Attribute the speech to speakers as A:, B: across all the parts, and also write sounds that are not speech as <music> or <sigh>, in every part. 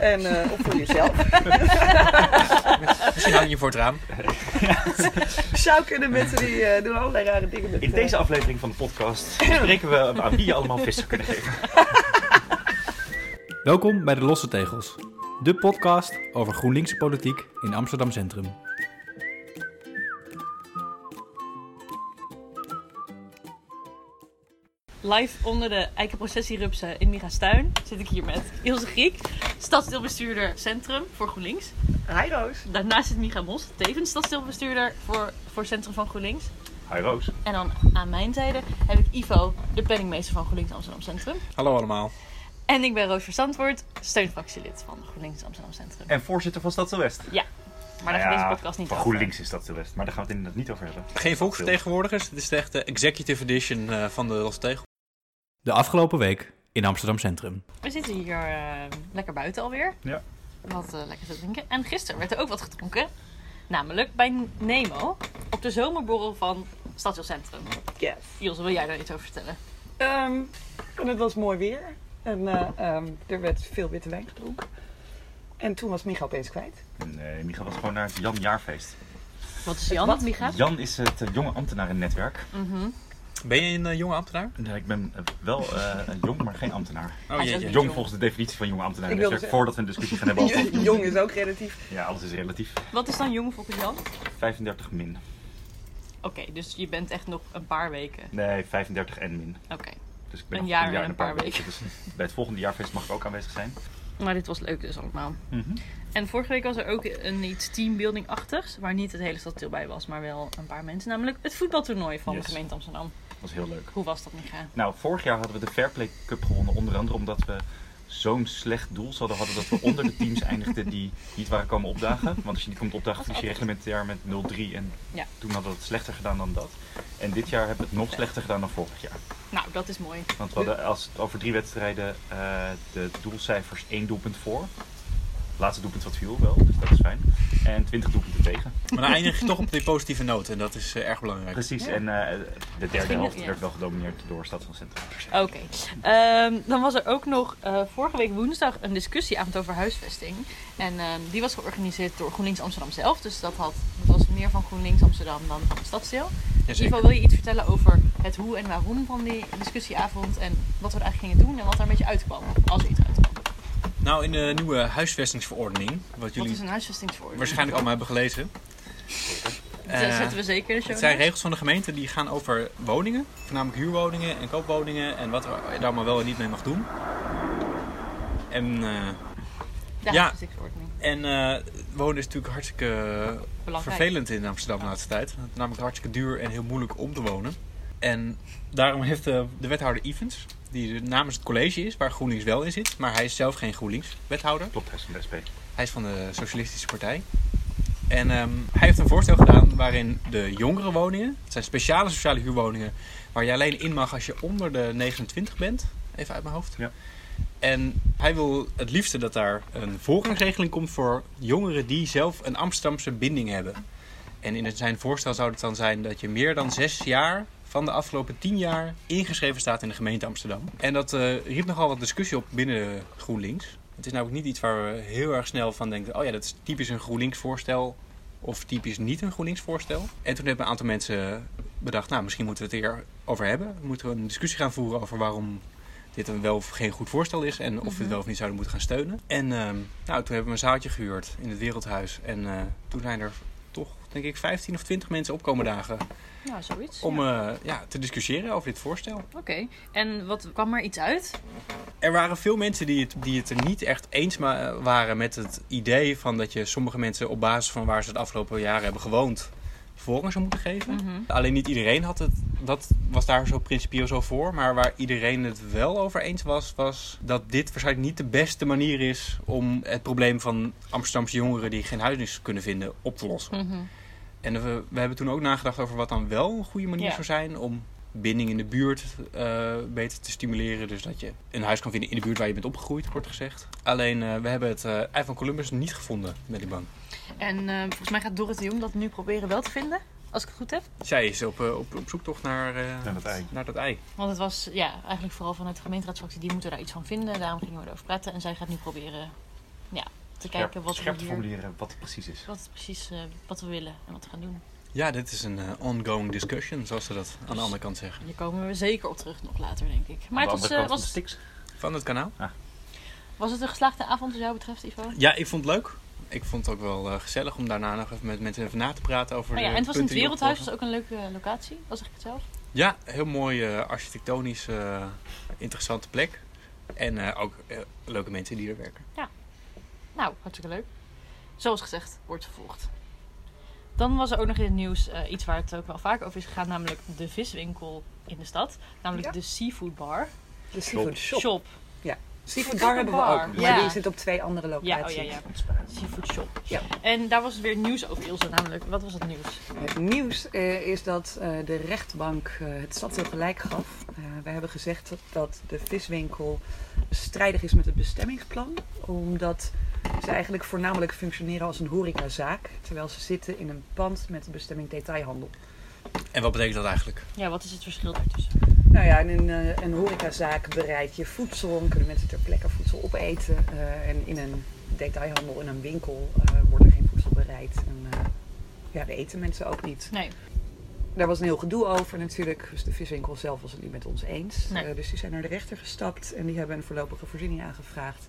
A: En, eh, of voor jezelf. <laughs>
B: Misschien hang je voor het raam.
A: Zou kunnen mensen die eh, doen allerlei rare dingen met
C: In deze aflevering van de
D: <clears throat>
C: podcast bespreken we aan wie je allemaal vissen kunnen geven.
E: Welkom bij De Losse Tegels, de podcast over GroenLinkse politiek in Amsterdam Centrum.
D: Live onder de eikenprocessierupsen in Miga's tuin zit ik hier met Ilse Griek, stadsdeelbestuurder Centrum voor GroenLinks.
A: Hi Roos.
D: Daarnaast zit Micha Mos, tevens stadsdeelbestuurder voor, voor Centrum van GroenLinks.
C: Hi Roos.
D: En dan aan mijn zijde heb ik Ivo, de penningmeester van GroenLinks Amsterdam Centrum.
B: Hallo allemaal.
D: En ik ben Roos Verstandwoord, steunfractielid van GroenLinks Amsterdam Centrum.
C: En voorzitter van Stad West.
D: Maar daar gaat deze podcast
C: Nou
D: niet
C: van
D: over.
C: GroenLinks is Stad West, maar daar gaan we het inderdaad niet over hebben.
B: Geen volksvertegenwoordigers. Dit is de echte executive edition eh, van de Losse Tegel.
E: De afgelopen week in Amsterdam Centrum.
D: We zitten hier eh, lekker buiten alweer.
C: Ja.
D: Wat eh, lekker te drinken. En gisteren werd er ook wat gedronken. Namelijk bij Nemo. Op de zomerborrel van Stadsdeel Centrum.
A: Yes.
D: Jos, wil jij daar iets over vertellen?
A: Ehm, en het was mooi weer. En eh, ehm, er werd veel witte wijn gedronken. En toen was Micha opeens <laughs> kwijt.
C: Nee, eh, Micha was gewoon naar het Jan Jaarfeest.
D: Wat is Jan?
A: Wat?
D: Micha?
C: Jan is het eh, jonge ambtenarennetwerk.
D: Mhm.
B: Ben je een eh, jonge ambtenaar?
D: Mm.
C: Nee, ik ben eh, wel eh, jong, maar geen ambtenaar.
B: Oh
D: is
B: jeetje.
D: ook
C: Jong volgens de definitie van jonge
A: Ik wilde
C: ambtenarennetwerk.
A: zeggen-
C: Voordat we een discussie gaan hebben over
D: <laughs>
C: of
A: Jong is ook relatief.
C: Ja, alles is relatief.
D: Wat is dan jong volgens Jan?
C: 35 min.
D: Oké, dus je bent echt nog een paar weken.
C: Nee, 35 en min.
D: Oké.
C: Dus ik ben
D: Een
C: nog
D: jaar en een paar
C: Dus bij het volgende jaarfeest mag ik ook aanwezig zijn.
D: Maar dit was leuk dus allemaal.
C: Mhm.
D: En vorige week was er ook een iets teambuilding-achtigs. Waar niet het hele stadsdeel bij was, maar wel een paar mensen. Namelijk het voetbaltoernooi van
C: Yes.
D: de gemeente Amsterdam.
C: Dat was heel leuk.
D: Hoe was dat, Micha?
C: Nou, vorig jaar hadden we de Fairplay Cup gewonnen. Onder andere omdat we zo'n slecht doel zouden hadden
D: <laughs>
C: dat we onder de teams eindigden die niet waren komen opdagen. Want als je niet komt opdagen, verlies je reglementair met 0-3. En
D: Ja.
C: toen hadden we het slechter gedaan dan dat. En dit jaar hebben we het nog slechter gedaan dan vorig jaar.
D: Nou, dat is mooi.
C: Want we hadden als het over drie wedstrijden eh, de doelcijfers één doelpunt voor. Laatste doelpunt wat viel wel, dus dat is fijn. En 20 doelpunten tegen.
B: Maar dan eindig je toch op die positieve noot. En dat is eh, erg belangrijk.
C: Precies, en eh, de derde
D: ging-
C: helft
D: ja.
C: werd wel gedomineerd door Stad van Centrum.
D: Oké. Ehm, dan was er ook nog eh, vorige week woensdag een discussieavond over huisvesting. En ehm, die was georganiseerd door GroenLinks Amsterdam zelf. Dus dat, had, dat was meer van GroenLinks Amsterdam dan van het stadsdeel. Ivo,
B: Jazeker.
D: wil je iets vertellen over het hoe en waarom van die discussieavond? En wat we er eigenlijk gingen doen en wat er een beetje uitkwam? Als er iets uitkwam.
B: Nou, in de nieuwe huisvestingsverordening, wat
D: Wat
B: jullie
D: is een huisvestingsvoorbeeld?
B: waarschijnlijk allemaal hebben gelezen.
D: Dat
B: Eh,
D: zetten we zeker in de show
B: Het zijn
D: notes.
B: regels van de gemeente die gaan over woningen, voornamelijk huurwoningen en koopwoningen en wat er daar maar wel en niet mee mag doen. En, eh, ja.
D: De huisvestingsverordening.
B: en eh, wonen is natuurlijk hartstikke
D: Belangrijk.
B: vervelend in Amsterdam de laatste tijd. Het is namelijk hartstikke duur en heel moeilijk om te wonen. En daarom heeft eh, de wethouder Evans, die namens het college is, waar GroenLinks wel in zit, maar hij is zelf geen GroenLinks-wethouder.
C: Klopt, hij is van de SP.
B: Hij is van de Socialistische Partij. En ehm, hij heeft een voorstel gedaan waarin de jongere woningen, het zijn speciale sociale huurwoningen, waar je alleen in mag als je onder de 29 bent, even uit mijn hoofd.
C: Ja.
B: En hij wil het liefste dat daar een voorrangsregeling komt voor jongeren die zelf een Amsterdamse binding hebben. En in het- zijn voorstel zou het dan zijn dat je meer dan zes jaar van de afgelopen tien jaar ingeschreven staat in de gemeente Amsterdam. En dat eh, riep nogal wat discussie op binnen GroenLinks. Het is namelijk niet iets waar we heel erg snel van denken, oh ja, dat is typisch een GroenLinks voorstel of typisch niet een GroenLinks voorstel. En toen hebben een aantal mensen bedacht, nou misschien moeten we het hier over hebben. Moeten we een discussie gaan voeren over waarom dit een wel of geen goed voorstel is en of we het wel of niet zouden moeten gaan steunen. En ehm, nou, toen hebben we een zaaltje gehuurd in het Wereldhuis en eh, toen zijn er toch, denk ik, 15 of 20 mensen opkomen dagen
D: Ja, zoiets.
B: om
D: ja.
B: eh, ja, te discussiëren over dit voorstel.
D: Oké. En wat kwam er iets uit?
B: Er waren veel mensen die het, die het er niet echt eens ma- waren met het idee van dat je sommige mensen op basis van waar ze het afgelopen jaren hebben gewoond voorrang zou moeten geven.
D: Mhm.
B: Alleen niet iedereen had het, dat was daar zo principieel zo voor. Maar waar iedereen het wel over eens was, was dat dit waarschijnlijk niet de beste manier is om het probleem van Amsterdamse jongeren die geen huis kunnen vinden op te lossen.
D: Mhm.
B: En we, we hebben toen ook nagedacht over wat dan wel een goede manier
D: Ja.
B: zou zijn om binding in de buurt eh, beter te stimuleren. Dus dat je een huis kan vinden in de buurt waar je bent opgegroeid, wordt gezegd. Alleen eh, we hebben het eh, ei van Columbus niet gevonden met die bank.
D: En eh, volgens mij gaat Dorrit de Jong dat nu proberen wel te vinden. Als ik het goed heb.
B: Zij is op, eh, op, op zoektocht naar, eh,
C: Naar dat ei.
B: Naar dat ei.
D: Want het was ja, eigenlijk vooral vanuit de gemeenteraadsfractie, die moeten daar iets van vinden. Daarom gingen we erover praten. En zij gaat nu proberen Te
C: Scherp-
D: kijken wat
C: scherp
D: we
C: te
D: hier,
C: formuleren wat het precies is.
D: wat het precies eh, wat we willen en wat we gaan doen.
B: Ja, dit is een eh, ongoing discussion, zoals ze dat aan de andere kant zeggen.
D: Hier komen we zeker op terug nog later, denk ik. Maar het
C: Aan de
D: was,
C: andere
D: eh,
C: kant van de
D: was,
C: Styx.
B: Van het kanaal.
D: was het een geslaagde avond wat jou betreft, Ivo?
B: Ja, ik vond het leuk. Ik vond het ook wel eh, gezellig om daarna nog even met mensen even na te praten over
D: Maar Oh ja,
B: de
D: en het was in het
B: punten die
D: Wereldhuis,
B: opvallen.
D: was ook een leuke eh, locatie, was ik het zelf.
B: Ja, heel mooi eh, architectonisch eh, interessante plek. En eh, ook eh, leuke mensen die er werken.
D: Nou, hartstikke leuk. Zoals gezegd, wordt vervolgd. Dan was er ook nog in het nieuws eh, iets waar het ook wel vaak over is gegaan, namelijk de viswinkel in de stad. Namelijk
A: Ja.
D: de seafood bar.
A: De seafood shop.
D: Shop.
A: Seafood bar hebben we ook.
D: Bar,
A: Maar
D: ja.
A: die zit op twee andere
D: Ja,
A: locaties.
D: oh ja, ja.
C: Ontspannen.
D: Seafood shop.
A: Ja.
D: En daar was weer nieuws over, Ilse, namelijk. Wat was het nieuws?
A: Het nieuws eh, is dat eh, de rechtbank eh, het stadsdeel gelijk gaf. Eh, we hebben gezegd dat, dat de viswinkel strijdig is met het bestemmingsplan. Omdat ze eigenlijk voornamelijk functioneren als een horecazaak. Terwijl ze zitten in een pand met de bestemming detailhandel.
B: En wat betekent dat eigenlijk?
D: Ja, wat is het verschil daartussen?
A: Nou ja, in een, eh, een horecazaak bereid je voedsel en kunnen mensen ter plekke voedsel opeten. Eh, en in een detailhandel, in een winkel, eh, wordt er geen voedsel bereid. En eh, ja, dat eten mensen ook niet.
D: Nee.
A: Daar was een heel gedoe over natuurlijk. Dus de viswinkel zelf was het niet met ons eens.
D: Nee.
A: Eh, dus die zijn naar de rechter gestapt en die hebben een voorlopige voorziening aangevraagd.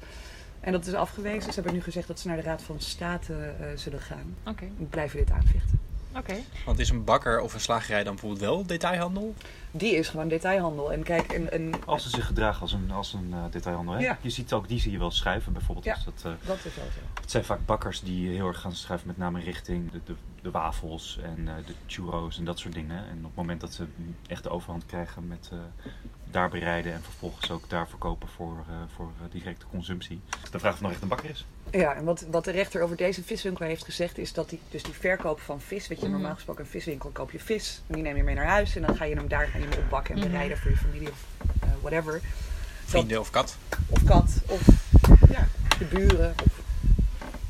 A: En dat is afgewezen. Ze hebben nu gezegd dat ze naar de Raad van State eh, zullen gaan.
D: Oké.
A: We blijven dit aanvechten.
D: Oké.
B: Want is een bakker of een slagerij dan bijvoorbeeld wel detailhandel?
A: Die is gewoon detailhandel. En kijk, een, een,
C: Als ze zich gedragen als een, als een eh, detailhandel. Hè?
A: Ja.
C: Je ziet ook, die zie je wel schuiven. Bijvoorbeeld
A: Ja.
C: als dat, eh,
A: dat is wel zo.
C: het zijn vaak bakkers die heel erg gaan schuiven. Met name richting de, de, de wafels en eh, de churros en dat soort dingen. En op het moment dat ze echt de overhand krijgen met eh, daar bereiden. En vervolgens ook daar verkopen voor, eh, voor eh, directe consumptie. De vraag of het nog echt een bakker is.
A: Ja, en wat, wat de rechter over deze viswinkel heeft gezegd is dat die, dus die verkoop van vis, weet je,
D: Mhm.
A: normaal gesproken een viswinkel koop je vis, en die neem je mee naar huis en dan ga je hem daar gaan je hem opbakken en
D: Mhm.
A: bereiden voor je familie of eh, whatever.
B: Vrienden of kat?
A: of kat of ja, de buren of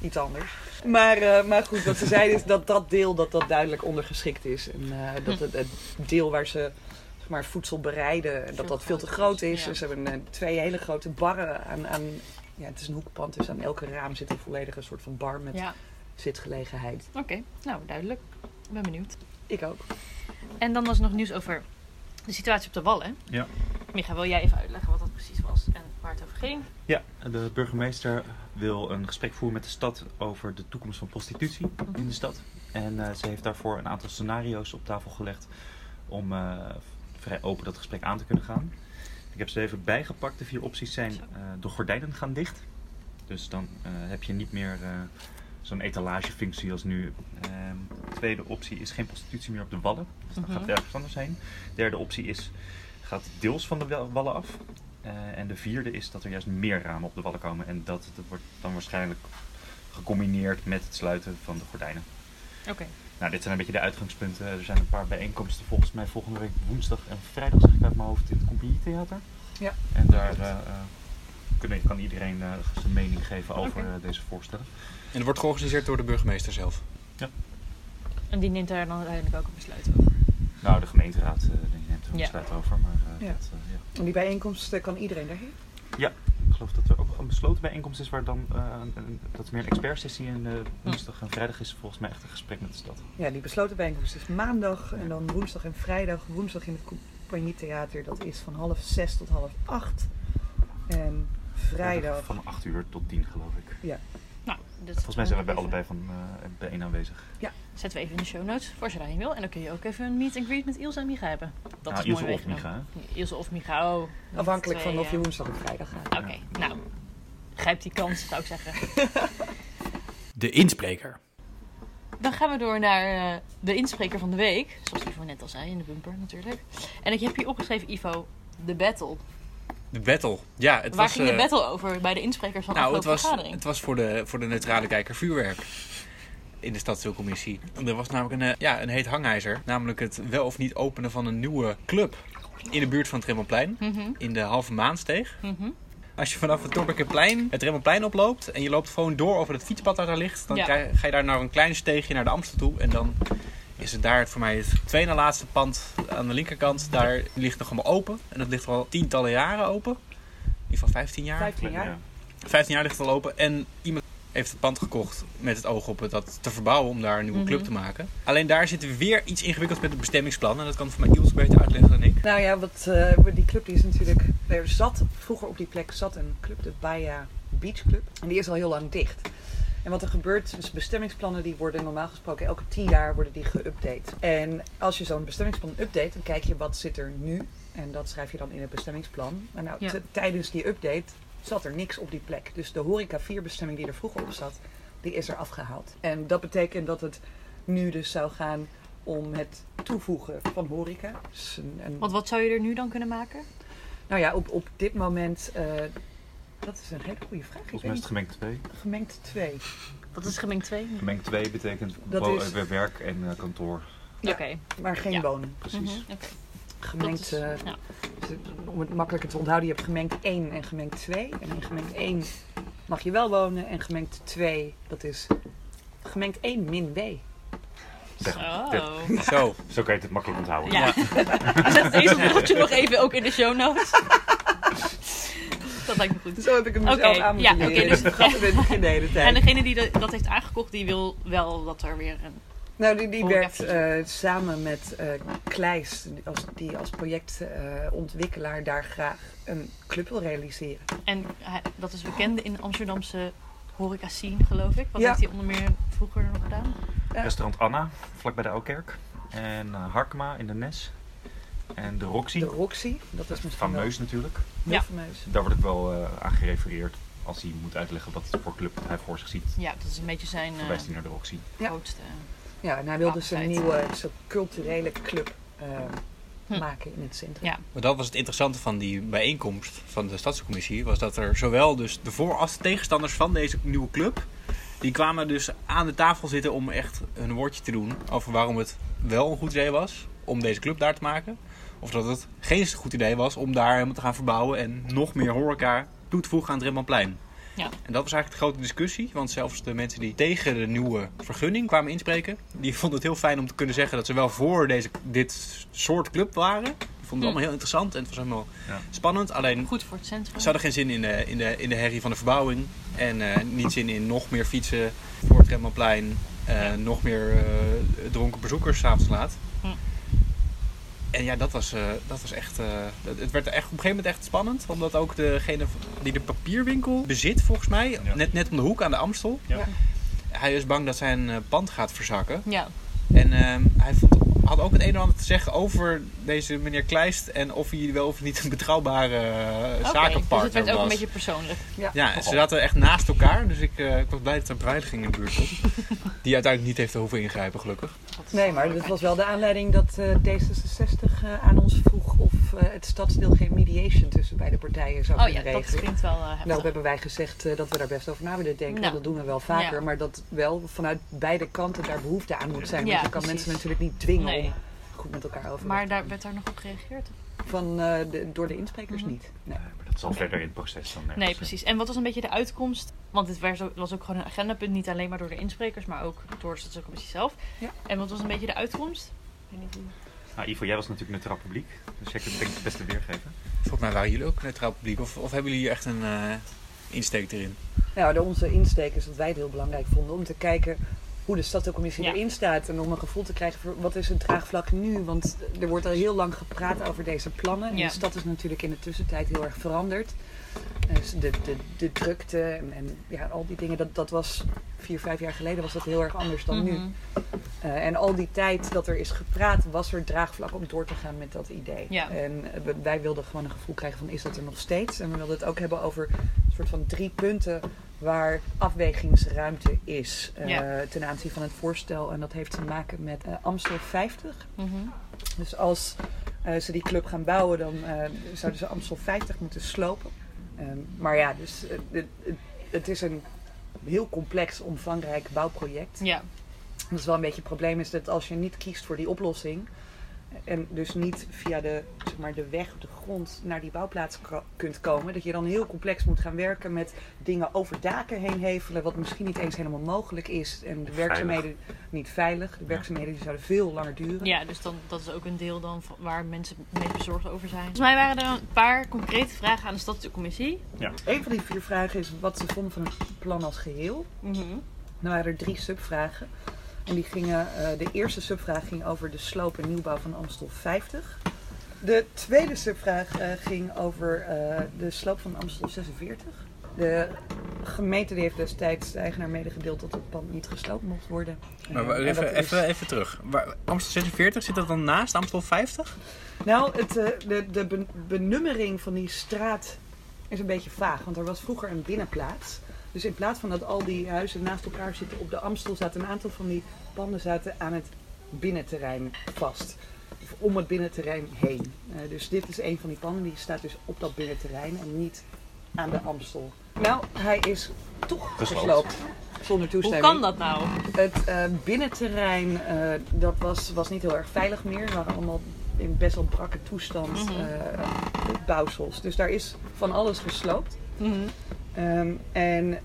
A: iets anders. Maar, eh, maar goed, wat ze zeiden is dat dat deel dat dat duidelijk ondergeschikt is. En eh, dat het, het deel waar ze zeg maar, voedsel bereiden, dat dat veel te groot is.
D: ja.
A: Dus ze hebben eh, twee hele grote barren aan... aan ja, het is een hoekpand, dus aan elke raam zit een volledige soort van bar met
D: Ja.
A: zitgelegenheid.
D: Oké. Nou, duidelijk. Ik ben benieuwd.
A: Ik ook.
D: En dan was er nog nieuws over de situatie op de Wallen.
C: Ja.
D: Micha, wil jij even uitleggen wat dat precies was en waar het over ging?
C: Ja, de burgemeester wil een gesprek voeren met de stad over de toekomst van prostitutie in de stad. En eh, ze heeft daarvoor een aantal scenario's op tafel gelegd om eh, vrij open dat gesprek aan te kunnen gaan. Ik heb ze even bijgepakt. De vier opties zijn
D: Zo.
C: eh, de gordijnen gaan dicht. Dus dan eh, heb je niet meer eh, zo'n etalagefunctie als nu. Ehm, tweede optie is geen prostitutie meer op de wallen. Dus dan gaat
D: Mhm.
C: het ergens anders heen. Derde optie is gaat deels van de wel- wallen af. Eh, en de vierde is dat er juist meer ramen op de wallen komen. En dat, dat wordt dan waarschijnlijk gecombineerd met het sluiten van de gordijnen.
D: Oké.
C: Nou, dit zijn een beetje de uitgangspunten. Er zijn een paar bijeenkomsten volgens mij volgende week woensdag en vrijdag, zeg ik uit mijn hoofd, in het Compagnie Theater.
A: Ja.
C: En daar eh, eh, kunnen- kan iedereen eh, zijn mening geven over
D: Oké.
C: eh, deze voorstellen.
B: En het wordt georganiseerd door de burgemeester zelf.
D: En die neemt daar dan uiteindelijk ook een besluit over.
C: Nou, de gemeenteraad eh, die neemt er een
D: Ja.
C: besluit over, maar eh,
A: Ja.
C: dat, eh, ja.
A: En die bijeenkomst eh, kan iedereen daarheen.
C: ik geloof dat er ook een besloten bijeenkomst is waar dan, eh, een- een- dat is meer een expertsessie en eh, woensdag en vrijdag is volgens mij echt een gesprek met de stad. Eh,
A: Ja, die besloten bijeenkomst is maandag en dan woensdag en vrijdag. Woensdag in het compagnietheater, dat is van half zes tot half acht. En vrijdag.
C: Van 8 uur tot 10 geloof ik.
D: Nou, dat
C: Volgens mij zijn we bij allebei van, eh, bij één aanwezig.
D: Zetten we even in de show notes voor als je daarheen wil. En dan kun je ook even een meet and greet met Ilse en Micha hebben. Dat
C: Nou,
D: is
C: Ilse
D: mooi
C: of
D: meegenomen.
C: Micha,
D: Ilse of Micha, oh.
A: Afhankelijk
D: Twee,
A: van of je
D: eh,
A: woensdag of vrijdag gaat.
D: Oké, nou. Grijp die kans, zou ik zeggen.
E: De inspreker.
D: Dan gaan we door naar eh, de inspreker van de week. Zoals Ivo net al zei, in de bumper natuurlijk. En ik heb hier opgeschreven, Ivo, de battle.
B: De battle. Ja, het
D: Waar
B: was,
D: ging de
B: eh,
D: battle over bij de insprekers van de
B: Nou, het was,
D: afgelopen vergadering?
B: het was voor de, voor de neutrale kijker vuurwerk in de stadsdeelcommissie. Er was namelijk een, eh, ja, een heet hangijzer. Namelijk het wel of niet openen van een nieuwe club in de buurt van het Remmelplein.
D: Mhm,
B: In de Halve Maansteeg.
D: mhm.
B: Als je vanaf het Torbekerplein het Remmelplein oploopt en je loopt gewoon door over het fietspad dat daar ligt. Dan
D: Ja.
B: krijg- ga je daar naar een klein steegje naar de Amstel toe. En dan is het daar voor mij het tweede na laatste pand aan de linkerkant. Daar ligt nog allemaal open. En dat ligt al tientallen jaren open. In ieder geval 15 jaar.
A: 15 jaar.
C: Ja.
B: 15 jaar ligt het al open. En iemand heeft het pand gekocht met het oog op het dat te verbouwen om daar een nieuwe club
D: Mhm.
B: te maken. Alleen daar zitten we weer iets ingewikkelds met het bestemmingsplan. En dat kan voor mij Iels beter uitleggen
D: <laughs>
B: dan ik.
A: Nou ja, wat, eh, die club die is natuurlijk. Er zat vroeger op die plek zat een club, de Baia Beach Club. En die is al heel lang dicht. En wat er gebeurt, dus bestemmingsplannen die worden normaal gesproken elke tien jaar worden die geüpdate. En als je zo'n bestemmingsplan update, dan kijk je wat zit er nu. En dat schrijf je dan in het bestemmingsplan. Maar nou,
D: Ja.
A: t- tijdens die update zat er niks op die plek. Dus de horeca 4 bestemming die er vroeger op zat, die is er afgehaald. En dat betekent dat het nu dus zou gaan om het toevoegen van horeca. Dus een- een-
D: Want wat zou je er nu dan kunnen maken?
A: nou ja, op, op dit moment. eh, dat is een hele goede vraag. Ik
C: Volgens mij
A: weet
C: is het gemengd 2.
A: niet, gemengd twee.
D: Dat is gemengd 2.
C: Gemengd 2 betekent
A: Dat
C: wo-
A: is-
C: eh, werk en eh, kantoor.
A: Ja.
D: Oké.
A: Maar geen
D: Ja.
A: wonen.
C: Precies.
D: Mhm, oké. Dat
A: Gemengd.
D: is- nou,
A: eh,
D: ja.
A: om het makkelijker te onthouden, je hebt gemengd 1 en gemengd 2. En in gemengd 1 mag je wel wonen. En gemengd 2, dat is gemengd 1 min B.
C: Zeg,
D: Zo.
B: Zo,
C: Zo kan je het makkelijk onthouden.
D: Ja. <laughs> Zet deze blokje nog even ook in de show notes. Dat lijkt me goed.
A: Zo heb ik hem mezelf
D: Oké,
A: aan moeten
D: ja, oké,
A: leren.
D: dus- <laughs>
A: dat gaat in het begin de hele tijd.
D: En degene die dat- dat heeft aangekocht, die wil wel dat er weer een...
A: Nou, die, die
D: Oh,
A: werkt
D: ja,
A: eh, samen met eh Kleist, die als, die als projectontwikkelaar daar graag een club wil realiseren.
D: En hij- dat is bekend in de Amsterdamse horeca scene, geloof ik. Wat
A: Ja.
D: heeft hij onder meer vroeger nog gedaan?
C: Restaurant Anna, vlakbij de Oukerk. En eh, Harkma in de Nes. En de Roxy,
A: De Roxy, dat is misschien wel
C: fameus natuurlijk.
A: heel
D: Ja.
A: fameus.
C: Daar word ik wel eh, aan gerefereerd als hij moet uitleggen wat het voor club hij voor zich ziet.
D: Ja, dat is een beetje zijn eh,
C: Verwijst hij naar de Roxy.
A: Ja.
D: grootste...
A: Ja, en hij wil dus een
D: Altijd.
A: nieuwe soort culturele club eh,
D: Hm.
A: maken in het centrum.
D: Ja.
B: maar dat was het interessante van die bijeenkomst van de stadscommissie. Was dat er zowel dus de voor- als de tegenstanders van deze nieuwe club. Die kwamen dus aan de tafel zitten om echt hun woordje te doen over waarom het wel een goed idee was om deze club daar te maken. Of dat het geen goed idee was om daar helemaal te gaan verbouwen en nog meer horeca toe te voegen aan het Rembrandtplein.
D: Ja.
B: En dat was eigenlijk de grote discussie, want zelfs de mensen die tegen de nieuwe vergunning kwamen inspreken, die vonden het heel fijn om te kunnen zeggen dat ze wel voor deze, dit soort club waren. Die vonden het allemaal heel interessant en het was helemaal
C: Ja.
B: spannend. Alleen
D: eh, Goed voor het centrum.
B: ze hadden geen zin in de, in de, in de herrie van de verbouwing. En eh, niet zin in nog meer fietsen voor het Rembrandtplein. eh, nog meer eh, dronken bezoekers s'avonds laat.
D: Hm.
B: En ja, dat was, eh, dat was echt... eh, het- het werd echt, op een gegeven moment echt spannend. Omdat ook degene die de papierwinkel bezit, volgens mij...
C: Ja.
B: Net, net om de hoek aan de Amstel...
C: Ja.
B: Hij is bang dat zijn eh, pand gaat verzakken.
D: Ja,
B: En ehm, hij vond, had ook het een en ander te zeggen over deze meneer Kleist. En of hij wel of niet een betrouwbare eh,
D: oké.
B: zakenpartner
D: Dus het werd ook
B: was.
D: een beetje Oh. persoonlijk.
B: Ja, en ze zaten echt naast elkaar. Dus ik, eh, ik was blij dat er een beveiliging in de buurt
D: <laughs>
B: was. Die uiteindelijk niet heeft hoeven ingrijpen, gelukkig.
A: Nee, maar dat was wel de aanleiding dat eh, D66 eh, aan ons vroeg of eh, het stadsdeel geen mediation tussen beide partijen zou
D: Oh ja,
A: kunnen
D: dat
A: regelen.
D: klinkt wel eh, heftig.
A: Nou, hebben wij gezegd eh, dat we daar best over na willen denken.
D: Nou.
A: Dat doen we wel vaker.
D: Ja.
A: Maar dat wel vanuit beide kanten daar behoefte aan moet zijn.
D: Ja,
A: Want je kan
D: precies.
A: mensen natuurlijk niet dwingen
D: Nee.
A: om goed met elkaar over
D: Maar daar werd daar nog op gereageerd?
A: Van, eh, de- door de insprekers
D: Mhm.
A: niet. Nee.
C: Nee, Eh, maar dat zal verder in het proces dan ergens,
D: Nee,
C: eh,
D: precies. En wat was een beetje de uitkomst? Want dit werd ook- was ook gewoon een agendapunt, niet alleen maar door de insprekers, maar ook door de stadscommissie zelf.
A: Ja.
D: En wat was een beetje de uitkomst? Ik weet niet hoe-
C: Nou, Ivo, jij was natuurlijk neutraal publiek, dus jij kunt denk ik het beste weergeven.
B: Volgens mij waren jullie ook neutraal publiek. Of, of hebben jullie echt een eh, insteek erin?
A: Nou, de, onze insteek is dat wij het heel belangrijk vonden om te kijken hoe de stadscommissie
D: Ja.
A: erin staat. En om een gevoel te krijgen voor wat is het draagvlak nu. Want er wordt al heel lang gepraat over deze plannen. En
D: Ja.
A: de stad is natuurlijk in de tussentijd heel erg veranderd. Dus de, de, de drukte en, en ja, al die dingen, dat, dat was vier, vijf jaar geleden was dat heel erg anders dan nu.
D: Mhm.
A: Eh, en al die tijd dat er is gepraat, was er draagvlak om door te gaan met dat idee.
D: Ja.
A: En eh, we- wij wilden gewoon een gevoel krijgen van is dat er nog steeds? En we wilden het ook hebben over een soort van drie punten waar afwegingsruimte is eh,
D: Ja.
A: ten aanzien van het voorstel. En dat heeft te maken met eh, Amstel 50.
D: Mhm.
A: Dus als eh, ze die club gaan bouwen, dan eh, zouden ze Amstel 50 moeten slopen. Ehm, maar ja, dus eh, het- het- het is een heel complex, omvangrijk bouwproject.
D: Ja,
A: Dat is wel een beetje het probleem is dat als je niet kiest voor die oplossing, en dus niet via de, zeg maar, de weg, de grond naar die bouwplaats k- kunt komen. Dat je dan heel complex moet gaan werken met dingen over daken heen hevelen, wat misschien niet eens helemaal mogelijk is. En de
C: Of
A: werkzaamheden niet veilig. De werkzaamheden die zouden veel langer duren.
D: Ja, dus dan, dat is ook een deel dan van- waar mensen het meest bezorgd over zijn. Volgens mij waren er een paar concrete vragen aan de stadscommissie.
A: Een van die vier vragen is wat ze vonden van het plan als geheel. Dan Nou waren er drie subvragen. En die gingen, eh, de eerste subvraag ging over de sloop en nieuwbouw van Amstel 50. De tweede subvraag eh, ging over eh, de sloop van Amstel 46. De gemeente die heeft destijds de eigenaar medegedeeld dat het pand niet gesloopt mocht worden.
B: Maar
A: Eh,
B: wa-
A: en
B: even,
A: dat is-
B: even, even terug. Waar- Amstel 46, zit dat dan naast Amstel 50?
A: Nou, het, eh, de, de ben- benummering van die straat is een beetje vaag. Want er was vroeger een binnenplaats. Dus in plaats van dat al die huizen naast elkaar zitten op de Amstel, zaten een aantal van die panden zaten aan het binnenterrein vast. Of om het binnenterrein heen. Eh, dus dit is een van die panden die staat dus op dat binnenterrein en niet aan de Amstel. Nou, hij is toch
C: Gesloopt.
A: gesloopt. Zonder
D: Hoe
A: toestemming.
D: kan dat nou?
A: Het eh, binnenterrein eh, dat was, was niet heel erg veilig meer. We waren allemaal in best wel brakke toestand
D: Mhm.
A: eh, bouwsels. Dus daar is van alles gesloopt.
D: Mhm.
A: Ehm, en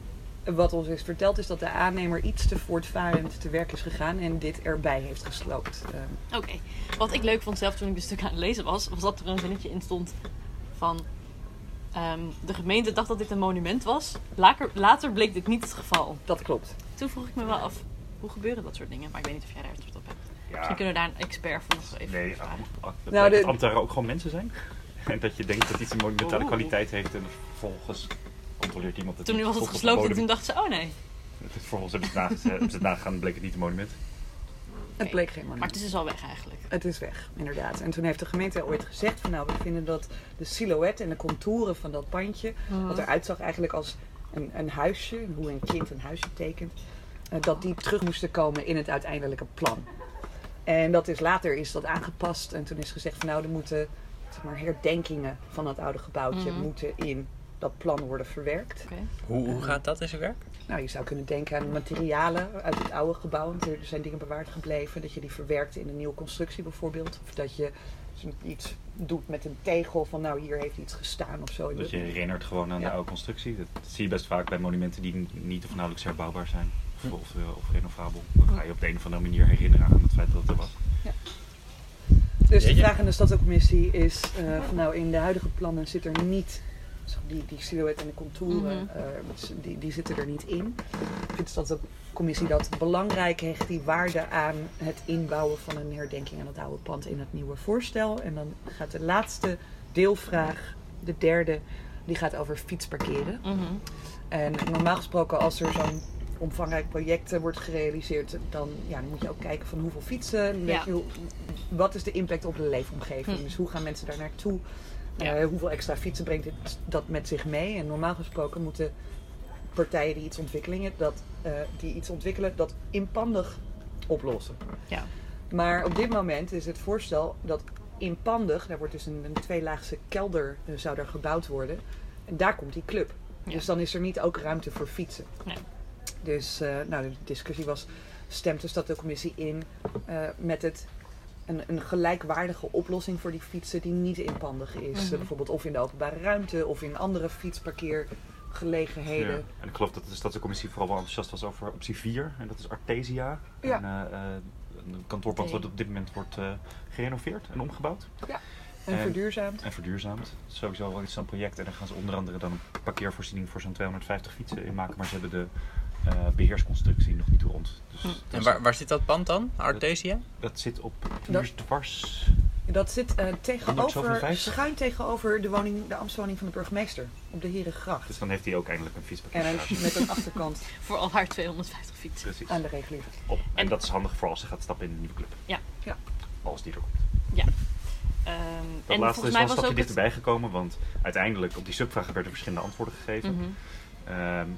A: wat ons is verteld is dat de aannemer iets te voortvarend te werk is gegaan en dit erbij heeft gesloopt. Ehm,
D: Oké. Wat ik leuk vond zelf toen ik dit stuk aan het lezen was, was dat er een zinnetje in stond van... ehm, de gemeente dacht dat dit een monument was. Laker- later bleek dit niet het geval.
A: dat klopt.
D: Toen vroeg ik me wel af, hoe gebeuren dat soort dingen? Maar ik weet niet of jij daar antwoord op hebt.
C: Ja.
D: Misschien kunnen we daar een expert voor nog even
C: Nee, oh,
D: vragen.
C: dat
A: Nou, de-
C: de... ambtenaren ook gewoon mensen zijn. <laughs> En dat je denkt dat iets een monumentale
D: Oeh.
C: kwaliteit heeft en vervolgens controleert iemand het.
D: Oh. Toen
C: niet.
D: was het
C: Volgens
D: gesloopt en
C: bodem- Mm.
D: toen dacht ze, oh nee.
C: Het is- Vervolgens hebben ze het nage- <laughs> hebben ze het nagegaan en bleek het niet een monument.
A: Het bleek geen
D: Maar
A: monument.
D: het is dus al weg eigenlijk.
A: Het is weg, inderdaad. En toen heeft de gemeente ooit gezegd van nou, we vinden dat de silhouet en de contouren van dat pandje Wat eruit zag eigenlijk als een, een huisje, hoe een kind een huisje tekent. eh, dat die terug moesten komen in het uiteindelijke plan. En dat is later is dat aangepast. En toen is gezegd van nou, er moeten zeg maar, herdenkingen van het oude gebouwtje
D: Mhm.
A: moeten in dat plan worden verwerkt.
D: Oké.
B: Hoe, hoe gaat dat in zijn werk?
A: Nou, je zou kunnen denken aan materialen uit het oude gebouw. Want er zijn dingen bewaard gebleven. Dat je die verwerkt in een nieuwe constructie bijvoorbeeld. Of dat je iets doet met een tegel van nou, hier heeft iets gestaan of zo.
C: Dat je herinnert gewoon aan
A: Ja.
C: de oude constructie. Dat zie je best vaak bij monumenten die n- niet of nauwelijks herbouwbaar zijn.
D: Hm.
C: Of, of, eh, of renovabel. Dan ga je op de een of andere manier herinneren aan het feit dat het er was.
A: Dus de
B: Jeetje.
A: vraag aan de stadscommissie is, eh, van nou in de huidige plannen zit er niet, zeg, die, die silhouet en de contouren,
D: Mhm.
A: eh, die, die zitten er niet in. Vindt de stadscommissie dat belangrijk hecht die waarde aan het inbouwen van een herdenking aan het oude pand in het nieuwe voorstel. En dan gaat de laatste deelvraag, de derde, die gaat over fietsparkeren.
D: Mhm.
A: En normaal gesproken, als er zo'n omvangrijk project eh, wordt gerealiseerd, dan, ja, dan moet je ook kijken van hoeveel fietsen. en weet
D: Ja.
A: je hoe- wat is de impact op de leefomgeving?
D: Hm.
A: Dus hoe gaan mensen daar naartoe?
D: Ja.
A: Eh, hoeveel extra fietsen brengt dit, dat met zich mee? En normaal gesproken moeten partijen die iets ontwikkelen, dat, eh, die iets ontwikkelen, dat inpandig oplossen.
D: Ja.
A: Maar op dit moment is het voorstel dat inpandig, daar wordt dus een, een tweelaagse kelder eh, zou daar gebouwd worden. En daar komt die club.
D: Ja.
A: Dus dan is er niet ook ruimte voor fietsen.
D: Nee.
A: Dus eh, nou, de discussie was, stemt de stadscommissie in eh, met het, een, een gelijkwaardige oplossing voor die fietsen die niet inpandig is.
D: Mhm.
A: Eh, bijvoorbeeld of in de openbare ruimte of in andere fietsparkeergelegenheden.
C: Ja. En ik geloof dat de stadscommissie vooral wel enthousiast was over optie 4. En dat is Artesia.
A: Ja.
C: En, eh, eh, een kantoorpand
D: Oké.
C: wat op dit moment wordt eh, gerenoveerd en omgebouwd.
A: En
C: En-
A: verduurzaamd.
C: En verduurzaamd. Dat is Sowieso wel iets zo'n project. En daar gaan ze onder andere dan een parkeervoorziening voor zo'n 250 fietsen in maken. Maar ze hebben de eh, beheersconstructie nog niet rond. Dus dat,
B: En
C: is-
B: waar, waar zit dat pand dan? Artesia?
C: dat zit op
A: Dat-
C: Duursdwars.
A: Dat zit eh,
C: zoveel
A: tegenover,
C: vijftig?
A: schuin tegenover de, woning, de ambtswoning van de burgemeester. Op de Herengracht.
C: Dus dan heeft hij ook eindelijk een fietsparkeer.
A: En een- met een achterkant
D: Voor al haar 250 fietsen.
C: Precies.
A: aan de reguliere.
C: Op.
D: En-
C: En dat is handig voor als ze gaat stappen in een nieuwe club.
D: Ja.
A: Ja.
C: Als die er komt.
D: Ehm,
C: Dat laatste is wel een stapje
D: het-
C: dichterbij gekomen, want uiteindelijk op die subvragen werden verschillende antwoorden gegeven.
D: Mhm.
C: Ehm,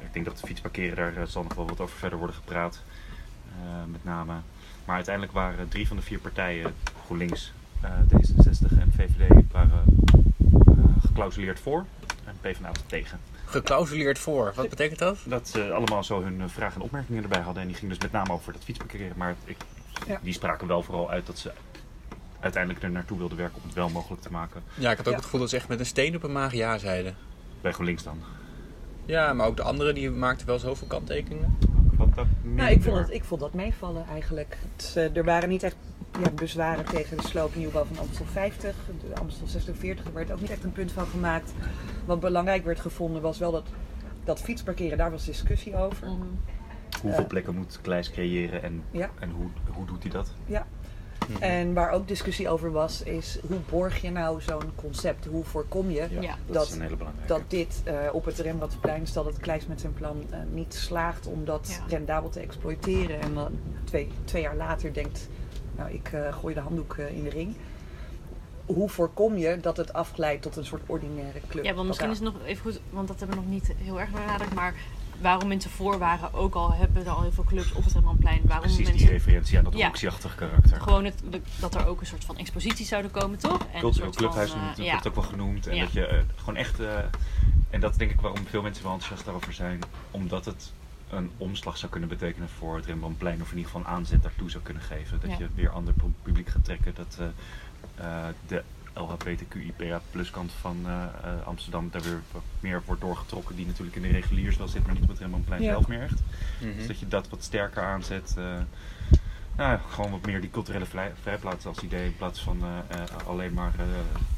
C: ik denk dat de fietsparkeren, daar eh, zal nog wel wat over verder worden gepraat. eh, met name. Maar uiteindelijk waren drie van de vier partijen, GroenLinks, eh, D66 en VVD, waren eh, geclausuleerd voor. En PvdA was tegen.
B: Geclausuleerd voor. Wat betekent dat?
C: Dat ze allemaal zo hun eh, vragen en opmerkingen erbij hadden. En die ging dus met name over dat fietsparkeren. Maar ik,
A: Ja.
C: die spraken wel vooral uit dat ze uiteindelijk er naartoe wilden werken om het wel mogelijk te maken.
B: Ja, ik had ook
A: Ja.
B: het gevoel dat ze echt met een steen op een maag ja zeiden.
C: Bij GroenLinks dan.
B: Ja, maar ook de anderen die maakten wel zoveel kanttekeningen.
C: Wat dat minder.
A: Nou, ik vond, dat, ik vond dat meevallen eigenlijk. Het, eh, er waren niet echt ja, bezwaren tegen de sloop nieuwbouw van Amstel 50. De Amstel 46 er werd ook niet echt een punt van gemaakt. Wat belangrijk werd gevonden was wel dat, dat fietsparkeren, daar was discussie over.
D: Mhm.
C: Hoeveel plekken moet Kleis creëren en,
A: eh, Ja.
C: en hoe, hoe doet hij dat? Mhm.
A: En waar ook discussie over was, is hoe borg je nou zo'n concept? Hoe voorkom je
D: Ja.
C: dat,
A: Dat-
C: is een hele belangrijke.
A: dat dit eh, op het Rembrandtplein, stel dat Kleis met zijn plan eh, niet slaagt om dat
D: Ja.
A: rendabel te exploiteren. En dan twee, twee jaar later denkt, nou ik eh, gooi de handdoek eh, in de ring. Hoe voorkom je dat het afglijdt tot een soort ordinaire club?
D: Ja, want misschien is
A: Dat-
D: het nog even goed, want dat hebben we nog niet heel erg benadrukt. Maar waarom mensen voor waren, ook al hebben er al heel veel clubs op het Rembrandtplein. Waarom
C: Precies die
D: mensen
C: referentie aan dat
D: Ja.
C: hoeksjachtig karakter.
D: gewoon het, dat er ook een soort van exposities zouden komen, toch? En een
C: Cultureel
D: soort
C: clubhuis
D: van, eh,
C: wordt
D: ja.
C: ook wel genoemd. En
D: Ja.
C: dat je eh, gewoon echt. eh, en dat is denk ik waarom veel mensen wel enthousiast daarover zijn. Omdat het een omslag zou kunnen betekenen voor het Rembrandtplein. Of in ieder geval een aanzet daartoe zou kunnen geven. Dat
D: Ja.
C: je weer ander pu- publiek gaat trekken. Dat eh, eh, de LHBTQIPA plus kant van eh, eh, Amsterdam daar weer wat meer wordt doorgetrokken. Die natuurlijk in de reguliers wel zit, maar niet op het Rembrandtplein
A: Ja.
C: zelf meer echt.
B: Mhm.
C: Dus dat je dat wat sterker aanzet. eh, nou, gewoon wat meer die culturele vrij- vrijplaats als idee. In plaats van eh, eh, alleen maar eh,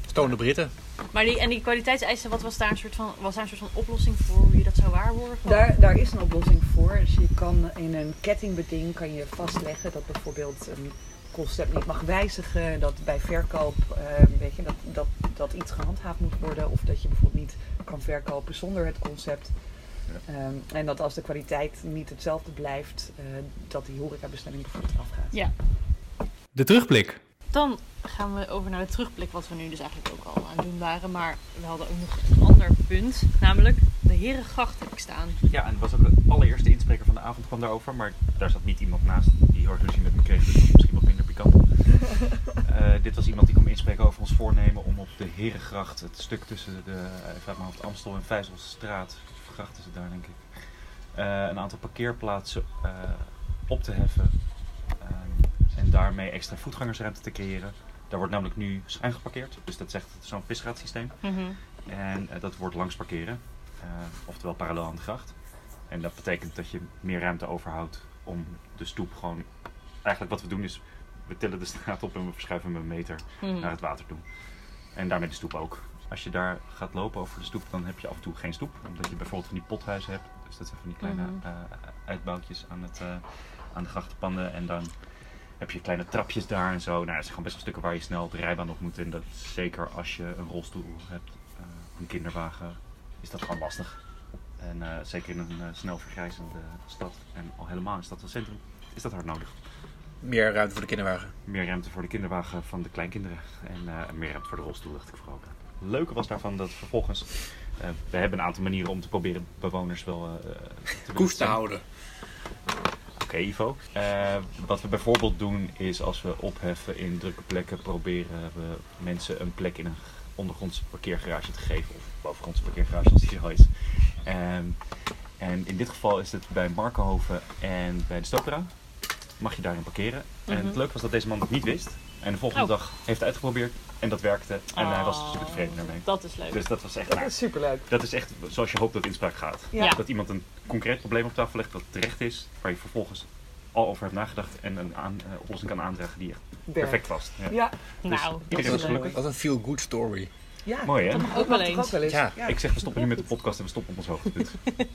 B: Stone Britten.
D: Maar die, en die kwaliteitseisen, wat was daar een soort van, was daar een soort van oplossing voor hoe je dat zou waarborgen?
A: Daar, daar is een oplossing voor. Dus je kan in een kettingbeding kan je vastleggen dat bijvoorbeeld een concept niet mag wijzigen. Dat bij verkoop eh, weet je, dat, dat, dat iets gehandhaafd moet worden. Of dat je bijvoorbeeld niet kan verkopen zonder het concept. Ehm, en dat als de kwaliteit niet hetzelfde blijft, eh, dat die horecabestemming bijvoorbeeld afgaat.
D: Ja.
E: De terugblik.
D: Dan gaan we over naar de terugblik, wat we nu dus eigenlijk ook al aan het doen waren. Maar we hadden ook nog een ander punt, namelijk de Herengracht heb ik staan.
C: Ja, en het was ook de allereerste inspreker van de avond kwam daarover. Maar daar zat niet iemand naast die heel erg ruzie met me kreeg. Dus dat was misschien wat minder pikant. Eh, dit was iemand die kwam inspreken over ons voornemen om op de Herengracht, het stuk tussen de eh, ik vraag me af, het Amstel en Vijzelstraat, gracht is het daar denk ik, eh, een aantal parkeerplaatsen eh, op te heffen. eh, en daarmee extra voetgangersruimte te creëren. Daar wordt namelijk nu schuin geparkeerd. Dus dat zegt zo'n visraadsysteem.
D: Mhm.
C: En eh, dat wordt langs parkeren, eh, oftewel parallel aan de gracht. En dat betekent dat je meer ruimte overhoudt om de stoep gewoon. Eigenlijk wat we doen is, we tillen de straat op en we verschuiven hem een meter
D: Mhm.
C: naar het water toe. En daarmee de stoep ook. Dus Als je daar gaat lopen over de stoep, dan heb je af en toe geen stoep. Omdat je bijvoorbeeld van die pothuizen hebt. Dus dat zijn van die kleine
D: Mhm.
C: eh, uitbouwtjes aan, het, eh, aan de grachtenpanden. En dan heb je kleine trapjes daar en zo. Nou, dat zijn gewoon best wel stukken waar je snel de rijbaan op moet. En dat is zeker als je een rolstoel hebt, eh, een kinderwagen, is dat gewoon lastig. En eh, zeker in een eh, snel vergrijzende stad en al helemaal in stad als centrum, is dat hard nodig.
B: Meer ruimte voor de kinderwagen.
C: Meer ruimte voor de kinderwagen van de kleinkinderen. En eh, meer ruimte voor de rolstoel, dacht ik vooral ook aan. Het leuke was daarvan dat vervolgens... eh, we hebben een aantal manieren om te proberen bewoners wel eh, te
B: Koest te
C: benutten.
B: houden.
C: Oké, Ivo. Eh, wat we bijvoorbeeld doen is als we opheffen in drukke plekken... proberen we mensen een plek in een ondergrondse parkeergarage te geven. Of bovengrondse parkeergarage als die er al is. Ehm, en in dit geval is het bij Markenhoven en bij de Stopera. Mag je daarin parkeren. En
D: Mhm.
C: het leuke was dat deze man dat niet wist. En de volgende
D: Oh.
C: dag heeft hij uitgeprobeerd en dat werkte. En hij was super tevreden daarmee.
D: Ah, Dat is leuk.
C: Dus dat was echt...
A: Dat
C: nou,
A: is superleuk.
C: dat is echt zoals je hoopt dat inspraak gaat.
D: Ja.
C: Dat iemand een concreet probleem op tafel legt dat terecht is, waar je vervolgens al over hebt nagedacht en een aan, eh, oplossing kan aandragen die echt perfect past. Ja.
A: Ja,
D: nou,
C: Dus
D: dat
C: iedereen
D: is
C: was
D: leuk.
C: gelukkig.
B: Wat een feel-good story.
A: ja.
C: Mooi hè?
D: Dat mag ook
A: mag
D: wel
A: toch
D: eens.
A: ook wel eens.
B: Ja.
C: Ik zeg, we stoppen nu met de podcast en we stoppen op ons hoogtepunt.
D: <laughs>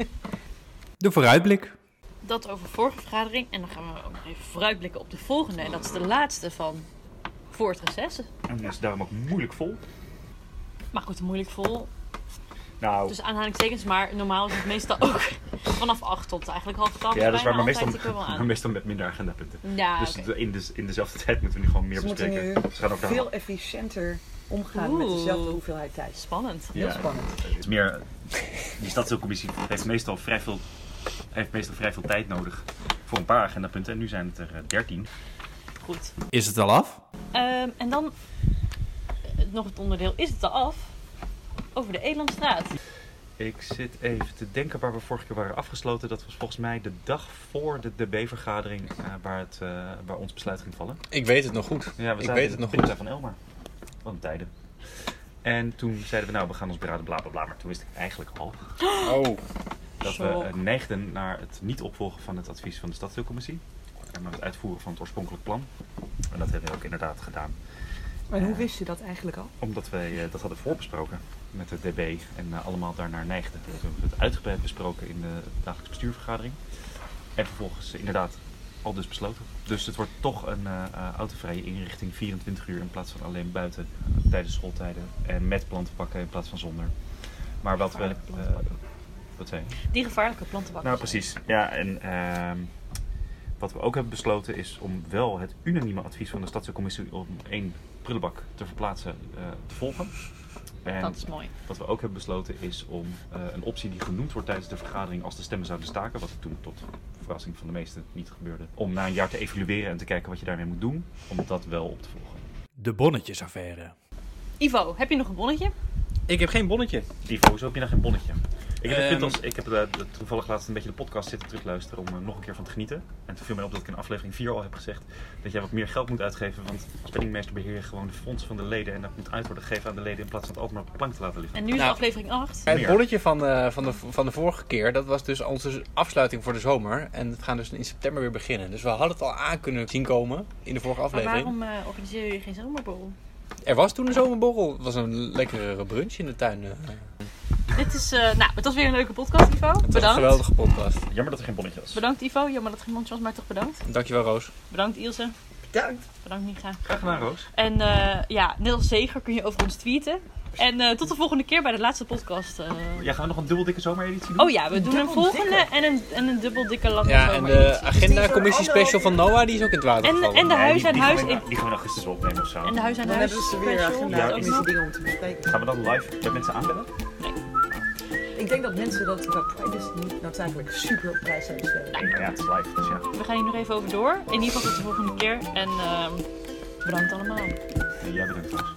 E: De vooruitblik.
D: Dat over vorige vergadering. En dan gaan we ook nog even vooruitblikken op de volgende. En dat is de laatste van voor het reces.
C: En dat is daarom ook moeilijk vol.
D: Maar goed, moeilijk vol.
C: Nou,
D: Dus aanhalingstekens, maar normaal is het meestal ook <laughs> vanaf 8 tot eigenlijk half 12.
C: ja, dat is waar, maar
D: bijna
C: meestal,
D: altijd tikken we
C: <laughs>
D: wel
C: maar
D: aan.
C: meestal met minder agendapunten.
D: Ja,
C: Dus
D: oké.
C: de- in, de, in dezelfde tijd moeten we nu gewoon meer
A: Ze moeten
C: bespreken.
A: nu
C: Ze gaan ook daar-
A: veel efficiënter omgaan met
D: Oeh.
A: dezelfde hoeveelheid tijd.
D: spannend.
A: Heel
C: Ja.
A: spannend.
C: Het is meer, die stadsdeelcommissie heeft meestal, vrij veel, heeft meestal vrij veel tijd nodig voor een paar agendapunten. En nu zijn het er eh, dertien.
D: Goed.
E: Is het al af?
D: Ehm, en dan eh, nog het onderdeel, is het al af? Over de Elandstraat.
C: Ik zit even te denken waar we vorige keer waren afgesloten. Dat was volgens mij de dag voor de DB-vergadering eh, waar, het, eh, waar ons besluit ging vallen.
B: Ik weet het nog goed.
C: Ja,
B: Ik
C: zaten
B: weet
C: in
B: het
C: de
B: nog goed.
C: pizza van Elmar. Wat een tijden. En toen zeiden we, nou, we gaan ons beraden, bla bla bla. Maar toen wist ik eigenlijk al
B: Oh,
C: dat we
A: Shock.
C: eh, neigden naar het niet opvolgen van het advies van de stadsdeelcommissie. En maar het uitvoeren van het oorspronkelijk plan. En dat hebben we ook inderdaad gedaan.
A: Maar hoe wist je dat eigenlijk al?
C: Omdat wij eh, dat hadden voorbesproken met de DB en eh, allemaal daarnaar neigden. Toen hebben we het uitgebreid besproken in de dagelijkse bestuurvergadering. En vervolgens eh, inderdaad al dus besloten. Dus het wordt toch een eh, eh, autovrije inrichting 24 uur in plaats van alleen buiten eh, tijdens schooltijden. En met plantenbakken in plaats van zonder. Maar wat we...
D: Gevaarlijke plantenbakken.
C: eh, wat zei je?
D: Die gevaarlijke plantenbakken.
C: Nou, precies. Ja, en ehm, wat we ook hebben besloten is om wel het unanieme advies van de Stadscommissie om één prullenbak te verplaatsen eh, te volgen. En
D: Dat is mooi.
C: wat we ook hebben besloten is om eh, een optie die genoemd wordt tijdens de vergadering als de stemmen zouden staken, wat toen tot verrassing van de meesten niet gebeurde, om na een jaar te evalueren en te kijken wat je daarmee moet doen, om dat wel op te volgen.
E: De bonnetjesaffaire.
D: Ivo, heb je nog een bonnetje?
B: ik heb geen bonnetje.
C: Divo, hoezo heb je nou geen bonnetje? Ik heb, het punt
B: Ehm.
C: als, ik heb eh, de- toevallig laatst een beetje de podcast zitten terugluisteren om er nog een keer van te genieten. En toen viel mij op dat ik in aflevering 4 al heb gezegd dat jij wat meer geld moet uitgeven. Want als penningmeester beheer je gewoon de fondsen van de leden. En dat moet uit worden gegeven aan de leden in plaats van het altijd maar op de plank te laten liggen.
D: En nu is
B: Nou.
D: aflevering 8.
B: Het
C: Meer.
B: bolletje van, eh, van, de, van de vorige keer, dat was dus onze afsluiting voor de zomer. En we gaan dus in september weer beginnen. Dus we hadden het al aan kunnen zien komen in de vorige
D: Maar
B: aflevering.
D: waarom eh organiseer je geen zomerborrel?
B: Er was toen een zomerborrel. Het was een lekkere brunch in de tuin. eh.
D: Dit is, eh, nou, het was weer een leuke podcast, Ivo.
B: Het was een
D: bedankt.
B: geweldige podcast.
C: Jammer dat er geen bonnetje was.
D: Bedankt, Ivo. Jammer dat het geen mondje was, maar toch bedankt.
B: Dankjewel, Roos.
D: Bedankt, Ilse.
A: Bedankt.
D: Bedankt, Micha.
C: Graag gedaan, Roos.
D: En eh, ja, net als zeker kun je over ons tweeten. En eh, tot de volgende keer bij de laatste podcast. eh.
C: Ja, gaan we nog een dubbel dikke zomereditie doen?
D: Oh ja, we doen een
A: Dubbel
D: volgende en een, en een dubbel dikke lange
B: Ja, en
D: zomer.
B: de agenda-commissie special van Noah die is ook in het water
D: En,
B: gevallen.
D: en de
C: Nee,
D: huis
C: die-
D: aan
C: die
D: huis.
C: gaan we in-
D: in-
C: Die gaan we in augustus wel opnemen of zo.
D: En de huis aan
A: Dan
D: huis.
A: hebben ze weer
D: special,
A: agenda
D: dat
A: ja,
D: ook
A: deze
D: nog.
A: dingen om te bespreken.
C: Gaan we dan live met mensen aanbellen?
A: Ik denk dat mensen dat qua privacy niet noodzakelijk super op prijs hebben stellen.
C: Nee, maar ja, het is live, dus ja.
D: We gaan hier nog even over door. In ieder geval tot de volgende keer. En ehm, bedankt allemaal.
C: En jij bedankt, Roos.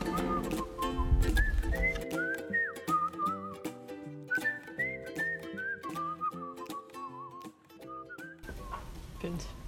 D: Punt.